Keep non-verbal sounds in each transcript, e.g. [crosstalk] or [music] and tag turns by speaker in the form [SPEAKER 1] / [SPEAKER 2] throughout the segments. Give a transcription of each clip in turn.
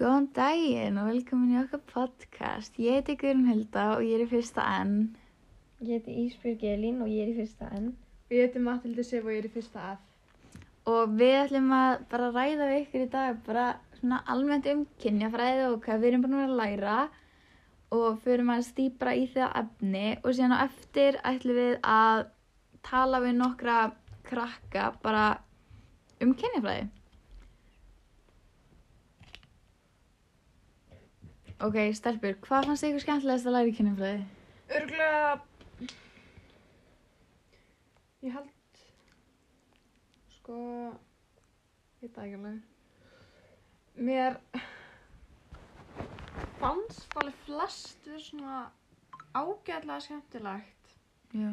[SPEAKER 1] Góðan daginn og velkomin í okkar podcast. Ég heiti Guðrun Hulda og ég er í fyrsta enn.
[SPEAKER 2] Ég heiti Ísbjörg Elín og ég er í fyrsta N.
[SPEAKER 3] Og ég heiti Matildur Sif og ég er í fyrsta F.
[SPEAKER 1] Og við ætlum að bara ræða við ykkur í dag, bara svona almennt um kynjafræði og hvað við erum búin að vera að læra og förum að stýpra í það efni og síðan á eftir ætlum við að tala við nokkra krakka bara um kynjafræði. Ok, stelpur, hvað fannst ykkur skemmtilegast að læra í kynjafræði?
[SPEAKER 3] Örglega... Ég held... Sko... Ég veit það ekki alveg. Mér... Fannst alveg flest verið svona ágæðlega skemmtilegt.
[SPEAKER 1] Já.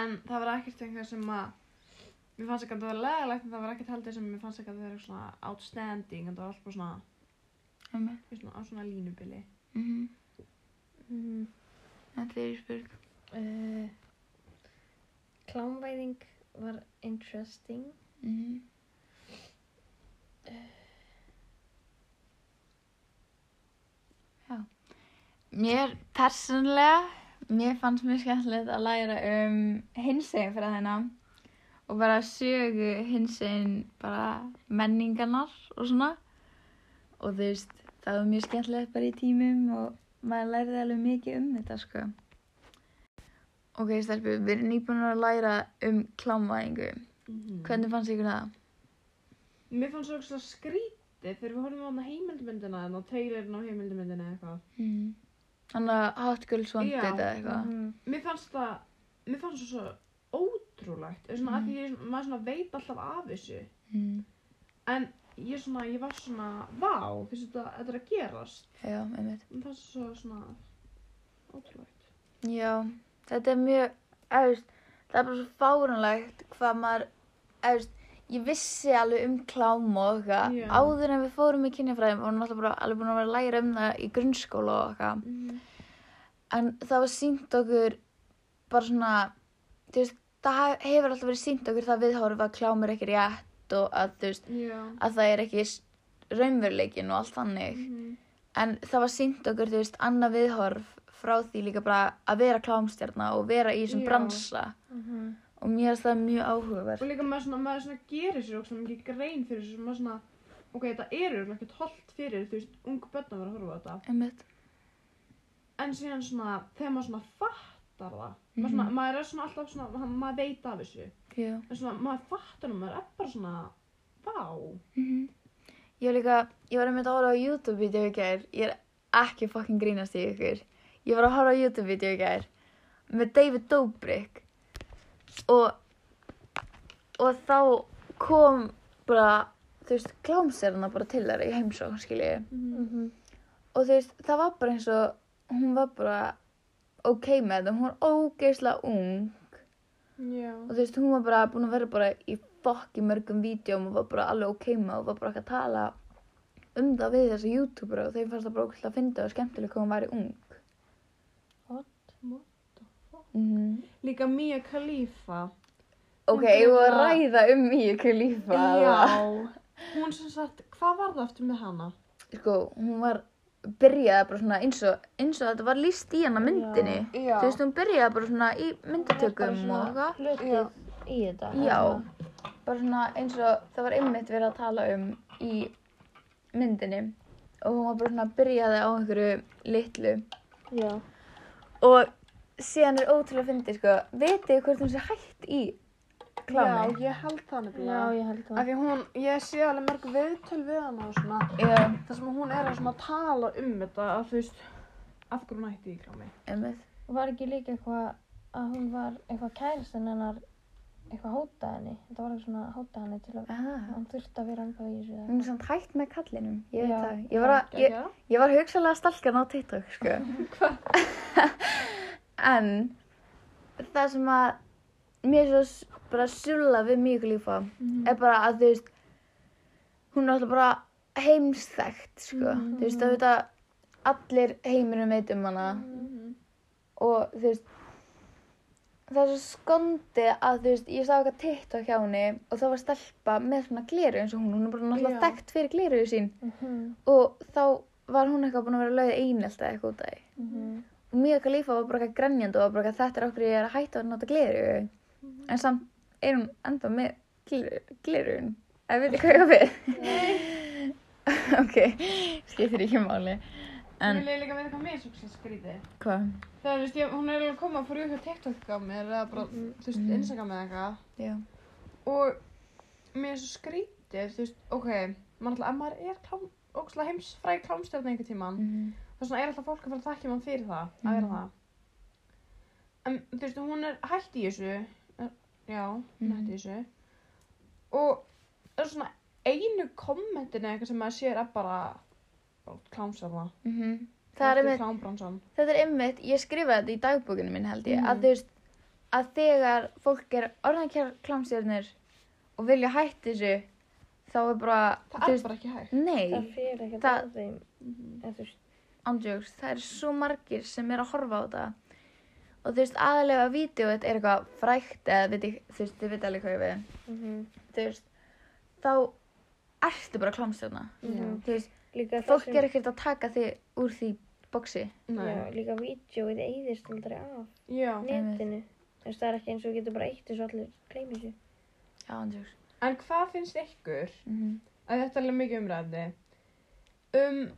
[SPEAKER 3] En það var ekkert einhver sem að... Mér fannst ekki að það var leðilegt en það var ekkert heldur sem mér fannst ekki að það var svona outstanding en það var alltaf bara svona,
[SPEAKER 1] Amen.
[SPEAKER 3] svona á svona línubili.
[SPEAKER 1] Mm -hmm.
[SPEAKER 2] Mm,
[SPEAKER 1] Þetta er spurning.
[SPEAKER 2] uh, klámvæðing var interesting.
[SPEAKER 1] Mm Uh, -hmm. Já. Mér persónlega, mér fannst mjög skemmtilegt að læra um hinsegin fyrir þennan og bara sögu hinsegin bara menningarnar og svona og þú veist, það var mjög skemmtilegt bara í tímum og maður lærði alveg mikið um þetta sko. Ok, stelpur, við erum nýbúin að læra um klámvæðingu. Hvernig fannst ykkur það?
[SPEAKER 3] Mér fannst það svona skrítið þegar við horfum á heimildmyndina en á trailerinn á heimildmyndina eða eitthvað.
[SPEAKER 1] Mm. Þannig að Hot Girls Wanted
[SPEAKER 3] Já,
[SPEAKER 1] eða eitthvað.
[SPEAKER 2] Mhm.
[SPEAKER 3] Mér fannst það, mér fannst það svo ótrúlegt, eða svona
[SPEAKER 1] Mhm.
[SPEAKER 3] mm. að því maður svona veit alltaf af þessu.
[SPEAKER 1] Mm.
[SPEAKER 3] En ég svona, ég var svona, vá, þessu þetta, þetta er að gerast.
[SPEAKER 1] Já, einmitt.
[SPEAKER 3] Mér fannst það svo svona ótrúlegt.
[SPEAKER 1] Já, þetta er mjög, eftir, það er bara svo fárunlegt hvað maður, eftir, ég vissi alveg um klám og eitthvað.
[SPEAKER 3] Já.
[SPEAKER 1] Áður en við fórum í kynjafræðum vorum náttúrulega bara alveg búin að vera að læra um það í grunnskóla og eitthvað.
[SPEAKER 3] Mm.
[SPEAKER 2] Mm-hmm.
[SPEAKER 1] En það var sínt okkur bara svona, þú veist, það hef- hefur alltaf verið sínt okkur það viðhorf að klám er ekki rétt og að, þú veist,
[SPEAKER 3] Já.
[SPEAKER 1] að það er ekki raunveruleikin og allt þannig.
[SPEAKER 3] Mm.
[SPEAKER 1] en það var sínt okkur, þú veist, annað viðhorf frá því líka bara að vera klámstjarna og vera í þessum
[SPEAKER 3] Já.
[SPEAKER 1] bransa
[SPEAKER 2] Mhm.
[SPEAKER 1] og mér finnst það mjög áhugaverð
[SPEAKER 3] Og líka maður svona, maður svona gerir sér okkur mikið grein fyrir þessu, maður svona, ok, þetta er örugglega ekkert holdt fyrir, þú veist, ungu börn að vera að horfa á þetta.
[SPEAKER 1] einmitt,
[SPEAKER 3] en síðan svona, þegar maður svona fattar það maður, svona,
[SPEAKER 1] Mhm.
[SPEAKER 3] maður er svona alltaf svona, ma- maður veit af þessu
[SPEAKER 1] já
[SPEAKER 3] en svona, maður fattar það, maður er bara svona vá
[SPEAKER 1] ég var líka, ég var einmitt að horfa á YouTube-vídeó í gær, ég er ekki fucking grínast í ykkur, ég var að horfa á YouTube-vídeó í gær með David Dobrik og og þá kom bara, þú veist, klámstjarna bara til þeirra í heimsókn, skiljið
[SPEAKER 2] Mhm.
[SPEAKER 1] og þú veist, það var bara eins og hún var bara ok með þetta, hún var ógeðslega ung
[SPEAKER 3] já
[SPEAKER 1] og þú veist, hún var bara búin að vera bara í fokki mörgum vídjum og var bara alveg ok með og var bara ekki að tala um það við þessa youtuber og þeim fannst það bara ógeðslega að finna og skemmtilega hvað hún væri ung mm
[SPEAKER 3] líka Mia Khalifa
[SPEAKER 1] ok,
[SPEAKER 3] Hún
[SPEAKER 1] ég var að
[SPEAKER 3] bara-
[SPEAKER 1] ræða um mjög klífa
[SPEAKER 3] hún sem sagt, hvað var það aftur með hana
[SPEAKER 1] sko, hún var byrjaði bara svona eins og, eins og þetta var líst í hana myndinni
[SPEAKER 3] Já.
[SPEAKER 1] þú veist, hún byrjaði bara svona í
[SPEAKER 2] Bara
[SPEAKER 1] myndatökum og
[SPEAKER 2] svona
[SPEAKER 1] eitthvað
[SPEAKER 2] Hlutið í þetta.
[SPEAKER 1] Já, bara svona eins og það var einmitt verið að tala um í myndinni og hún var bara svona byrjaði á einhverju litlu
[SPEAKER 2] Já.
[SPEAKER 1] og síðan er ótrúlega fyndið sko, vitið þið hvort hún sé hætt í klámi?
[SPEAKER 3] já, ég held það
[SPEAKER 2] Já,
[SPEAKER 3] nefnilega
[SPEAKER 2] ég held
[SPEAKER 3] af
[SPEAKER 2] það.
[SPEAKER 3] því hún, ég sé alveg mörg viðtöl við hana og svona
[SPEAKER 1] Já,
[SPEAKER 3] það sem hún er að svona tala um þetta að þú veist, af hverju hún hætti í klámi
[SPEAKER 1] einmitt.
[SPEAKER 2] Var ekki líka eitthvað að hún var eitthvað kærastinn hennar eitthvað hótað henni. Þetta var eitthvað svona hótað henni til að
[SPEAKER 1] Aha.
[SPEAKER 2] hann þurfti að vera ennþá í þessu. eða
[SPEAKER 1] Hún er samt hætt með kallinum, ég veit
[SPEAKER 2] Já.
[SPEAKER 1] það. Ég var, að, ég, ég var hugsalega stalkan á TikTok, sko. en það sem að mér er svo s- bara sulla við mjög lífa er bara að þú veist hún er alltaf bara heimsþægt sko. þú veist það veit að allir heiminum veit um hana
[SPEAKER 3] Mhm.
[SPEAKER 1] og þú veist það er svo skondið að þú veist, ég sá eitthvað TikTok hjá henni og þá var stelpa með svona gleru eins og hún, hún er bara náttúrulega
[SPEAKER 3] Já.
[SPEAKER 1] þekkt fyrir gleruðu sín
[SPEAKER 2] Mhm,
[SPEAKER 1] og þá var hún eitthvað búin að vera lögð einelt eða eitthvað út af því.
[SPEAKER 2] mhm.
[SPEAKER 1] Og Mjög eitthvað lífa var bara eitthvað grenjandi og var bara eitthvað þetta er okkur ég er að hætta að nota gleru en samt er hún enda með gleru- glerun, ef við þið hvað ég á við. [laughs] ok, skiptir ekki máli.
[SPEAKER 3] En...
[SPEAKER 1] En
[SPEAKER 3] Vil ég líka veit hvað mér er svo skrítið?
[SPEAKER 1] hvað?
[SPEAKER 3] Það er, veist, ég, hún er alveg að koma að fór ykkur TikTok á mér eða bara, þú veist,
[SPEAKER 1] Mhm.
[SPEAKER 3] Instagram eða eitthvað.
[SPEAKER 1] Já.
[SPEAKER 3] og mér er svo skrítið þú veist, ok, maður alltaf ef maður er klám, ókslega heimsfræ klámstjörn einhvern tíman,
[SPEAKER 1] Mm.
[SPEAKER 3] þess vegna er alltaf fólk að fara að þakka mann fyrir það, að vera
[SPEAKER 1] Mhm.
[SPEAKER 3] það en þú veist, hún er hætt í þessu er- já, hún er hætt í þessu og það er svona einu kommentin eða eitthvað sem maður sér er bara klámstjörna
[SPEAKER 1] Mhm. Það er með
[SPEAKER 3] klámbransan
[SPEAKER 1] Þetta er einmitt, ég skrifaði þetta í dagbókinu minn held ég,
[SPEAKER 3] Mhm.
[SPEAKER 1] að þú veist, að þegar fólk er orðankjær klámstjörnir og vilja hætta þessu, þá er bara,
[SPEAKER 3] það er bara ekki hægt
[SPEAKER 2] Það
[SPEAKER 1] nei,
[SPEAKER 2] fyrir ekki
[SPEAKER 1] Það-
[SPEAKER 2] að þeim. eða þú veist,
[SPEAKER 1] ándjóks, það er svo margir sem er að horfa á þetta og þú veist, aðalega vídeoet er eitthvað frækt eða veit ég, þú veist, þið veit alveg hvað ég við,
[SPEAKER 2] mhm,
[SPEAKER 1] þú veist, þá ertu bara klámstjörna,
[SPEAKER 2] mhm.
[SPEAKER 1] þú veist,
[SPEAKER 2] Líka það
[SPEAKER 1] fólk
[SPEAKER 2] sem-
[SPEAKER 1] er ekkert að taka þig úr því boksi.
[SPEAKER 2] Já,
[SPEAKER 3] Nei.
[SPEAKER 2] líka vídjóið eyðist aldrei af
[SPEAKER 3] Já.
[SPEAKER 2] netinu. Þess það er ekki eins og við getum bara eitt þessu allir gleymi sér.
[SPEAKER 1] Já, ándjóks.
[SPEAKER 3] en hvað finnst ykkur
[SPEAKER 1] Mm -hmm.
[SPEAKER 3] að þetta er alveg mikið umræðandi um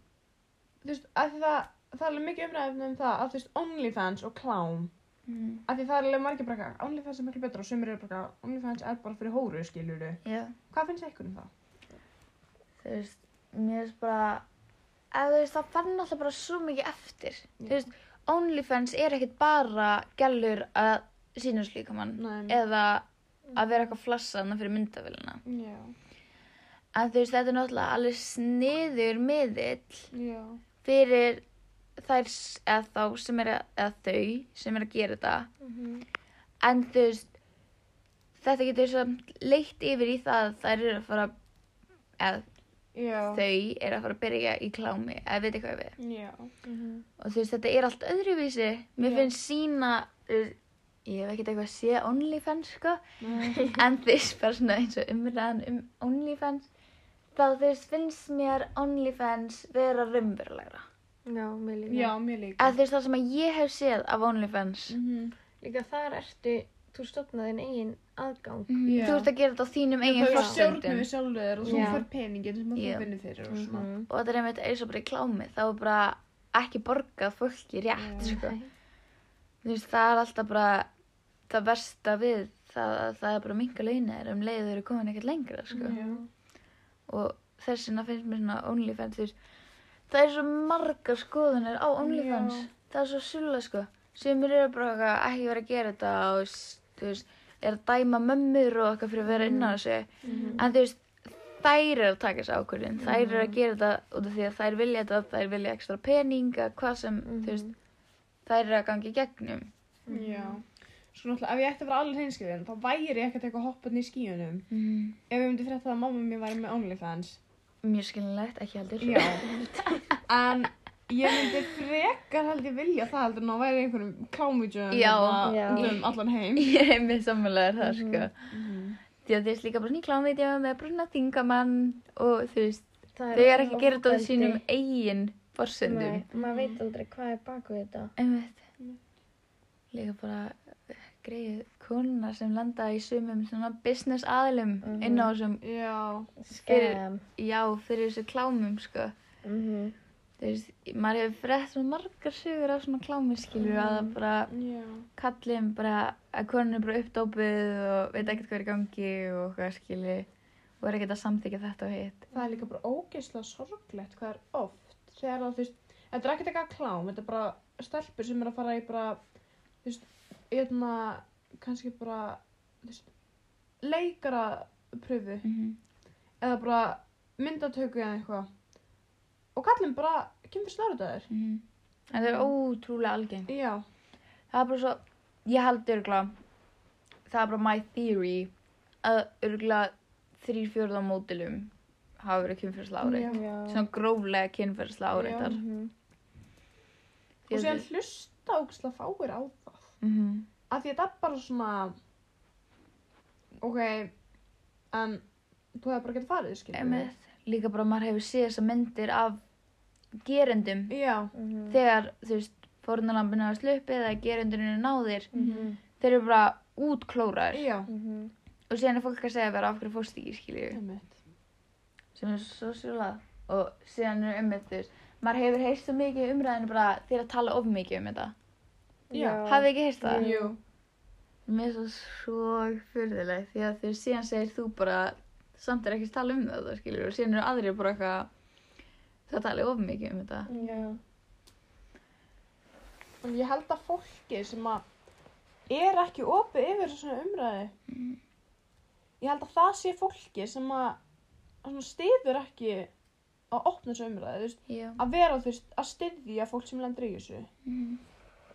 [SPEAKER 3] þú veist, að því það það er alveg mikið umræðandi um það að þú veist, OnlyFans og klám
[SPEAKER 1] mm.
[SPEAKER 3] að því það er alveg margir bara eitthvað, OnlyFans er miklu betra og sumir eru bara, eitthvað, OnlyFans er bara fyrir hóru skilur
[SPEAKER 1] Já.
[SPEAKER 3] hvað finnst ykkur um það?
[SPEAKER 1] þú veist, mér finnst bara eða þú veist, það fann alltaf bara svo mikið eftir, þú veist OnlyFans er ekkit bara gælur að sína slíkamann
[SPEAKER 3] Nei,
[SPEAKER 1] eða að vera eitthvað flassaðna fyrir myndavélina
[SPEAKER 3] já,
[SPEAKER 1] en þú veist, þetta er náttúrulega alveg sniður miðill
[SPEAKER 3] já
[SPEAKER 1] fyrir þær s- eða þá sem er að, eða þau sem er að gera þetta en þú veist þetta getur samt leitt yfir í það að þær eru að fara eða
[SPEAKER 3] já,
[SPEAKER 1] þau eru að fara að byrja í klámi eða veit eitthvað við
[SPEAKER 3] já
[SPEAKER 1] og þú veist þetta er allt öðruvísi mér
[SPEAKER 3] Já.
[SPEAKER 1] finnst sína uh, ég hef ekkert eitthvað að sé OnlyFans sko en þú veist bara svona eins og umræðan um OnlyFans þá þú veist finnst mér OnlyFans vera raunverulegra
[SPEAKER 2] Já, mér líka.
[SPEAKER 3] já, mér líka
[SPEAKER 1] eða þú veist það sem að ég hef séð af OnlyFans
[SPEAKER 3] Mhm.
[SPEAKER 2] Líka þar ertu, þú stofnað þinn eigin aðgang.
[SPEAKER 1] Mhm.
[SPEAKER 3] Já.
[SPEAKER 1] þú ert að gera þetta á þínum
[SPEAKER 3] það
[SPEAKER 1] eigin
[SPEAKER 3] er stjórnum
[SPEAKER 1] forsendum
[SPEAKER 3] við sjálfur þér og þú
[SPEAKER 2] Já.
[SPEAKER 3] fær peningin sem
[SPEAKER 1] Já.
[SPEAKER 3] þú finnir fyrir og svona
[SPEAKER 2] Mhm.
[SPEAKER 1] og þetta er einmitt eins og bara í klámi þá er bara ekki borgað fólki rétt
[SPEAKER 3] Já.
[SPEAKER 1] sko. þú veist það er alltaf bara það versta við það, það er bara minga launir um leið þau eru komin ekkert lengra sko.
[SPEAKER 3] Já.
[SPEAKER 1] og þess vegna finnst mér svona OnlyFans þú veist, það er svo margar skoðunir á OnlyFans
[SPEAKER 3] Já.
[SPEAKER 1] það er svo sulla sko sem eru bara eitthvað ekki verið að gera þetta og s- þú veist, er að dæma mömmur og eitthvað fyrir að vera inn á þessu
[SPEAKER 3] Mhm.
[SPEAKER 1] en þú veist, þær eru að taka þessu ákvörðin þær eru
[SPEAKER 3] Mm.
[SPEAKER 1] að gera þetta út af því að þær vilja þetta þær vilja ekstra peninga, hvað sem
[SPEAKER 3] Mm.
[SPEAKER 2] Mhm.
[SPEAKER 1] þú veist, þær eru að gangi gegnum
[SPEAKER 3] já Sko náttúrulega, ef ég ætti að vera alveg hreinskriðin, þá væri ég ekkert eitthvað hopparni í skíunum. Ef ég myndi frétta það að mamma mér væri með OnlyFans
[SPEAKER 1] mjög skilinlegt, ekki heldur [laughs]
[SPEAKER 3] Já En ég myndi frekar held ég vilja það heldur en að væri í einhverjum klámvídjum
[SPEAKER 1] Já.
[SPEAKER 2] Já.
[SPEAKER 3] um allan heim
[SPEAKER 1] ég er með sammálaður það
[SPEAKER 2] Mhm.
[SPEAKER 1] sko því að þeir líka bara svona í klámvídeó með bara svona þingamann og þú veist,
[SPEAKER 2] Það
[SPEAKER 1] þau eru ekki að gera þetta á
[SPEAKER 2] ofbeldi.
[SPEAKER 1] sínum Mhm. eigin forsendum
[SPEAKER 2] Nei, maður veit aldrei hvað er baku þetta.
[SPEAKER 1] einmitt líka bara eh, greið konuna sem landa í sumum svona business aðlum
[SPEAKER 2] Mhm.
[SPEAKER 1] inn á þessum
[SPEAKER 3] Já,
[SPEAKER 1] Fyrir-
[SPEAKER 2] Skam.
[SPEAKER 1] já, fyrir þessu klámum sko
[SPEAKER 2] Mhm.
[SPEAKER 1] þú veist, maður hefur frett svona margar sögur af svona klámi skilur að
[SPEAKER 2] Mhm.
[SPEAKER 1] það bara
[SPEAKER 3] já
[SPEAKER 1] kallin bara að konan er bara uppdópið og veit ekkert hvað er í gangi og hvað skilur og er ekkert að samþykja þetta og hitt
[SPEAKER 3] Það er líka bara ógeðslega sorglegt hvað er oft þegar það, þú veist, þetta er ekkert eitthvað klám þetta er bara stelpur sem er að fara í bara þú veist, hérna kannski bara, þú veist leikara pröfu
[SPEAKER 1] mm
[SPEAKER 2] Mhm.
[SPEAKER 1] -hmm.
[SPEAKER 3] eða bara myndatöku eða eitthvað og kallum bara kemur slörðaður
[SPEAKER 1] Mhm. það er ótrúlega algeng
[SPEAKER 3] Já,
[SPEAKER 1] Það er bara svo, ég held örgla, það er bara my theory að örgla þrýr fjörða mótilum hafa verið kynferðsla
[SPEAKER 3] Já.
[SPEAKER 1] áreitt.
[SPEAKER 2] Já.
[SPEAKER 1] Svona gróflega kynferðsla áreittar.
[SPEAKER 2] Mhm.
[SPEAKER 3] og síðan hlusta ógæslega fáir á það
[SPEAKER 1] Mm -hmm.
[SPEAKER 3] að því þetta er bara svona ok en þú hefur bara getið farið skilur við.
[SPEAKER 1] Einmitt. Líka bara maður hefur séð þessar myndir af gerendum
[SPEAKER 3] já,
[SPEAKER 2] Mhm.
[SPEAKER 1] þegar, þú veist, fórnarlambinu hafa sluppið eða gerendurinn er náðir.
[SPEAKER 2] Mhm.
[SPEAKER 1] Þeir eru bara útklóraðir.
[SPEAKER 3] já
[SPEAKER 2] Mhm.
[SPEAKER 1] Og síðan er fólk að segja bara af hverju fórst ekki, skiljið.
[SPEAKER 3] einmitt.
[SPEAKER 1] Sem er svo sjálfað. Og síðan er ummið, þú veist, maður hefur heyrst svo mikið í umræðinu bara þeir að tala of mikið um þetta.
[SPEAKER 3] Já.
[SPEAKER 1] Hafið ekki heyrst það?
[SPEAKER 3] jú,
[SPEAKER 1] Mér er svo svo fyrðileg því að þegar síðan segir þú bara samt er ekki að tala um þetta skilur og síðan eru aðrir bara eitthvað það tali of mikið um þetta
[SPEAKER 2] Já.
[SPEAKER 3] en ég held að fólki sem að er ekki opið yfir svona umræði
[SPEAKER 1] Mm.
[SPEAKER 3] ég held að það sé fólki sem að svona stiður ekki að opna þessu umræði þú veist,
[SPEAKER 1] Já,
[SPEAKER 3] að vera þú veist að stiðja fólk sem lendur í þessu Mm.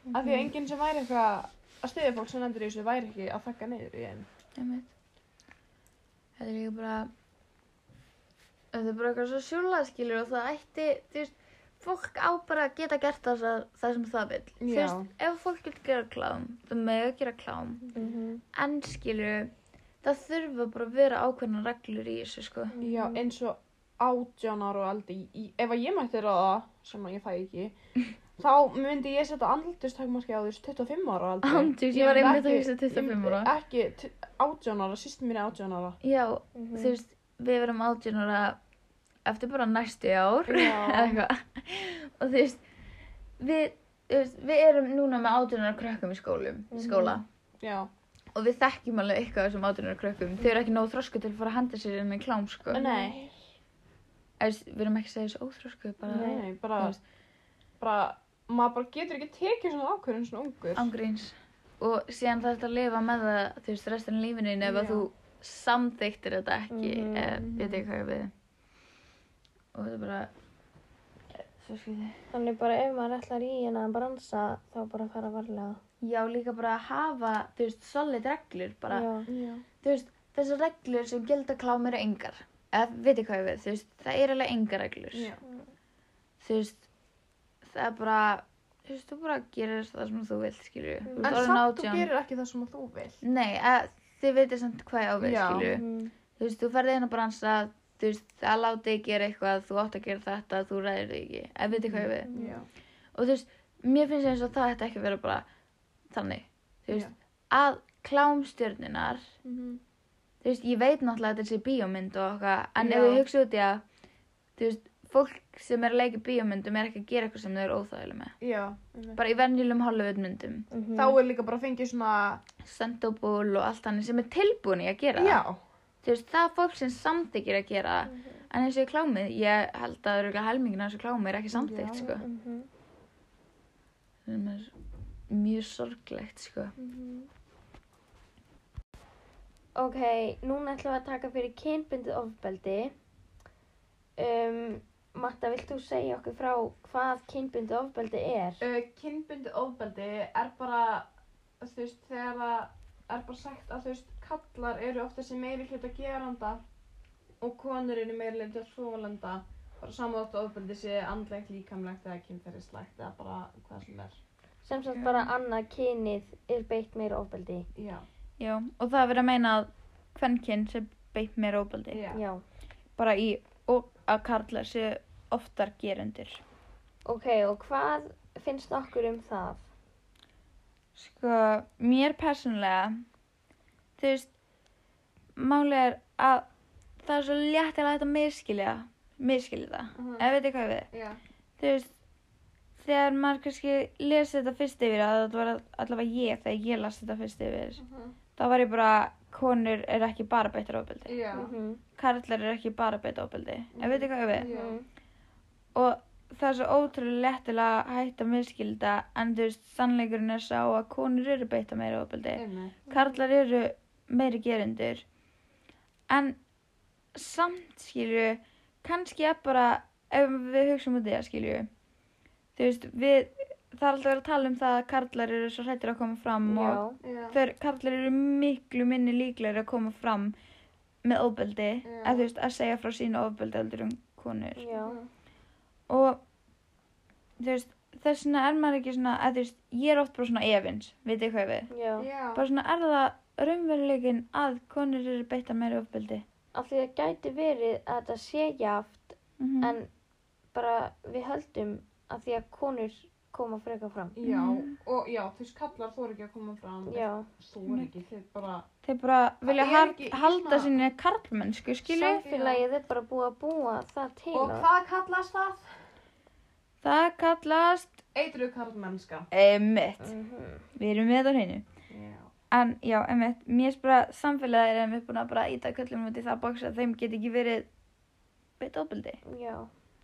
[SPEAKER 1] Mhm.
[SPEAKER 3] af því að enginn sem væri eitthvað að stiðja fólk sem lendur í þessu væri ekki að þakka niður í einn
[SPEAKER 1] einmitt Þetta er líka bara þetta er bara eitthvað svo sjúla skilur og það ætti, þú veist fólk á bara að geta gert það, það sem það vil þú
[SPEAKER 3] Já.
[SPEAKER 1] veist, ef fólk vil gera klám þau mega gera klám
[SPEAKER 2] Mhm.
[SPEAKER 1] en skilur, það þurfa bara að vera ákveðna reglur í þessu sko
[SPEAKER 3] Já, eins og átján ára og aldrei, í- ef að ég mætti ráða, sem að ég fæ
[SPEAKER 1] [laughs]
[SPEAKER 3] ekki, þá myndi ég setja andlutustakmarki á þess 25 ára aldrei.
[SPEAKER 1] Andlits, ég var
[SPEAKER 3] myndi
[SPEAKER 1] einmitt að
[SPEAKER 3] ekki-
[SPEAKER 1] hugsa 25 ára.
[SPEAKER 3] Ég myndi ekki, átján ára, sýst mín er átján ára.
[SPEAKER 1] Já,
[SPEAKER 2] Mhm.
[SPEAKER 3] Mm.
[SPEAKER 1] þú veist, við verum 18 ára eftir bara næstu ár
[SPEAKER 3] Já.
[SPEAKER 1] [laughs] eða eitthvað og þú veist, við, þú veist, við erum núna með 18 ára krökkum í skólum, í
[SPEAKER 3] Mhm.
[SPEAKER 1] skóla
[SPEAKER 3] Já,
[SPEAKER 1] og við þekkjum alveg eitthvað af þessum 18 ára krökkum þau eru ekki nógu þrosku til að fara að henda sér inn í klám sko
[SPEAKER 3] nei,
[SPEAKER 1] Eða, þú veist, við erum ekki að segja þessu óþrosku bara
[SPEAKER 3] nei, bara, bara, maður bara getur ekki tekið svona ákvörðin svona ungur.
[SPEAKER 1] ángríns og síðan þarf þetta að lifa með það þú veist, restin lífinin ef að
[SPEAKER 3] Já.
[SPEAKER 1] þú samþyktir þetta ekki mm
[SPEAKER 2] Mhm.
[SPEAKER 1] veit ég hvað ég á við og þetta er bara eh, svo skýði
[SPEAKER 2] Þannig bara ef maður ætlar í hennan bransa þá bara fara varlega.
[SPEAKER 1] Já, líka bara að hafa, þú veist, solid reglur bara,
[SPEAKER 2] Já.
[SPEAKER 3] Já,
[SPEAKER 1] þú veist, þessar reglur sem gilda klám eru engar eða, veit ég hvað ég við, þú veist, það eru alveg engar reglur
[SPEAKER 3] já,
[SPEAKER 1] þú veist, það er bara þú veist, þú bara gerir það sem þú vilt, skilju
[SPEAKER 2] En
[SPEAKER 3] en samt þú gerir ekki það sem að þú vilt.
[SPEAKER 1] Nei, að, þið veitir samt hvað ég á við,
[SPEAKER 3] Já.
[SPEAKER 1] skilju
[SPEAKER 2] Mhm.
[SPEAKER 1] þú veist, þú ferði inn að bransa þú veist, það láti þig gera eitthvað þú átt að gera þetta, þú ræðir þig ekki eða, veit ég hvað ég við
[SPEAKER 3] Já,
[SPEAKER 1] og þú veist, mér finnst eins og það ætti ekki að vera bara þannig, þú veist
[SPEAKER 3] Já. Mhm.
[SPEAKER 1] að klámstjörnunar þú veist, ég veit náttúrulega að þetta sé bíómynd og okkar, en
[SPEAKER 3] Já.
[SPEAKER 1] ef ég hugsa út í að þú veist, fólk sem er að leika í bíómyndum er ekki að gera eitthvað sem þau eru óþægileg með
[SPEAKER 3] já. einmitt.
[SPEAKER 1] bara í venjulegum Hollywoodmyndum
[SPEAKER 2] Mhm.
[SPEAKER 3] Þá er líka bara fengið svona,
[SPEAKER 1] Sandóból og allt hann sem er tilbúin í að gera það.
[SPEAKER 3] já. Mhm.
[SPEAKER 1] þú veist, það er fólk sem samþykir að gera það. en eins og í klámið, ég held að örugglega helmingin af þessu klámið er ekki samþykt
[SPEAKER 3] Já.
[SPEAKER 1] sko.
[SPEAKER 2] Mhm.
[SPEAKER 1] sem er mjög sorglegt sko.
[SPEAKER 2] mhm. Ok, núna ætlum við að taka fyrir kynbundið ofbeldi. Um, Matta, vilt þú segja okkur frá hvað kynbundið ofbeldi er?
[SPEAKER 3] Uh, kynbundið ofbeldi er bara, þú veist, þegar það er bara sagt að þú veist, kallar eru ofta sem meiri hluta geranda og konur eru meiri hluta þólenda. Bara samanlátt ofbeldi sé andlegt, líkamlegt eða kynferðislegt eða bara hvað sem er.
[SPEAKER 2] Sem sagt bara
[SPEAKER 3] Mm.
[SPEAKER 2] annað kynið er beitt meira ofbeldi.
[SPEAKER 3] Já.
[SPEAKER 1] Já, og það er verið að meina að kvenkinn sem beitt mér óbældi
[SPEAKER 3] Já.
[SPEAKER 2] Já.
[SPEAKER 1] bara í og að karlar séu oftar gerendur.
[SPEAKER 2] Ok, og hvað finnst okkur um það?
[SPEAKER 1] Sko, mér persónulega, þú veist, málið er að það er svo létt að þetta miskilja, miskilja það,
[SPEAKER 3] Mhm.
[SPEAKER 1] ef veit ég hvað ég við.
[SPEAKER 3] Já.
[SPEAKER 1] Þú veist, þegar maður kannski lesi þetta fyrst yfir, að þetta var allavega ég þegar ég las þetta fyrst
[SPEAKER 3] Mm.
[SPEAKER 1] yfir, þá var ég bara, konur er ekki bara beittar ofbeldi,
[SPEAKER 3] Já.
[SPEAKER 2] Mhm.
[SPEAKER 1] karlar er ekki bara beittar ofbeldi, ef veit ég hvað ég
[SPEAKER 2] Mm.
[SPEAKER 1] við.
[SPEAKER 3] Já.
[SPEAKER 2] mhm.
[SPEAKER 1] og það er svo ótrúlega lettilega að hætta að miskilda en þú veist, sannleikurinn er sá að konur eru beita meira ofbeldi
[SPEAKER 3] Einmitt.
[SPEAKER 1] karlar eru meiri gerundur en samt skilju kannski er bara ef við hugsaum út í það skilju þú veist, við það er alltaf verið að tala um það að karlar eru svo hrættir að koma fram og
[SPEAKER 2] Já.
[SPEAKER 3] Já. Mhm.
[SPEAKER 1] þeir karlar eru miklu minni líklegri að koma fram með ofbeldi,
[SPEAKER 3] Já.
[SPEAKER 1] eða þú veist, að segja frá sínu ofbeldi heldur um konur
[SPEAKER 2] Já.
[SPEAKER 1] og þú veist þess vegna er maður ekki svona, að þú veist, ég er oft bara svona efins, veit þið hvað ég við?
[SPEAKER 2] Já.
[SPEAKER 3] Já.
[SPEAKER 1] Bara svona er það raunveruleikin að konur eru beittar meira ofbeldi.
[SPEAKER 2] Af því það gæti verið að þetta sé jaft
[SPEAKER 1] Mm
[SPEAKER 2] en bara við höldum að því að konur koma frekar fram.
[SPEAKER 3] Já,
[SPEAKER 1] Mhm.
[SPEAKER 3] og já, þú veist, kallar þú ekki að koma fram.
[SPEAKER 2] Já,
[SPEAKER 3] Þú er ekki, þið bara...
[SPEAKER 1] Þeir bara vilja
[SPEAKER 3] er
[SPEAKER 1] hal-
[SPEAKER 3] ekki í
[SPEAKER 1] halda
[SPEAKER 3] svona-
[SPEAKER 1] sinni karlmennsku, skilu.
[SPEAKER 3] Sam-
[SPEAKER 2] samfélagið er bara búið að búa það til.
[SPEAKER 3] Og
[SPEAKER 2] að-
[SPEAKER 3] hvað kallast það?
[SPEAKER 1] Það kallast
[SPEAKER 3] Eitruð karlmennska.
[SPEAKER 1] emitt.
[SPEAKER 2] Mhm.
[SPEAKER 1] Við erum með þetta á hreinu.
[SPEAKER 3] Já.
[SPEAKER 1] En já, emitt, mér er bara samfélagið er emitt búin að bara íta köllum út í það bóks að þeim get ekki verið beitt ofbeldi.
[SPEAKER 2] Já.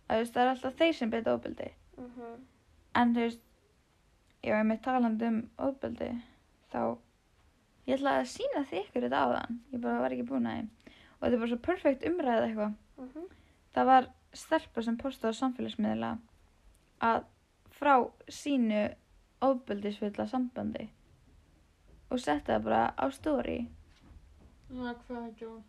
[SPEAKER 1] Það, veist, það er alltaf þeir sem beitt ofbeldi.
[SPEAKER 2] Mhm.
[SPEAKER 1] En þú veist, já, emitt talandi um ofbeldi, þá ég ætla að sína þið ykkur þetta áðan. Ég bara var ekki búin að því. Og þetta er bara svo perfekt umræða eitthvað.
[SPEAKER 2] Mhm.
[SPEAKER 1] það var stelpa sem postaði á samfélagsmiðla að frá sínu ofbeldisfulla sambandi og setti það bara á stóri
[SPEAKER 3] Já, hvað ekki hún?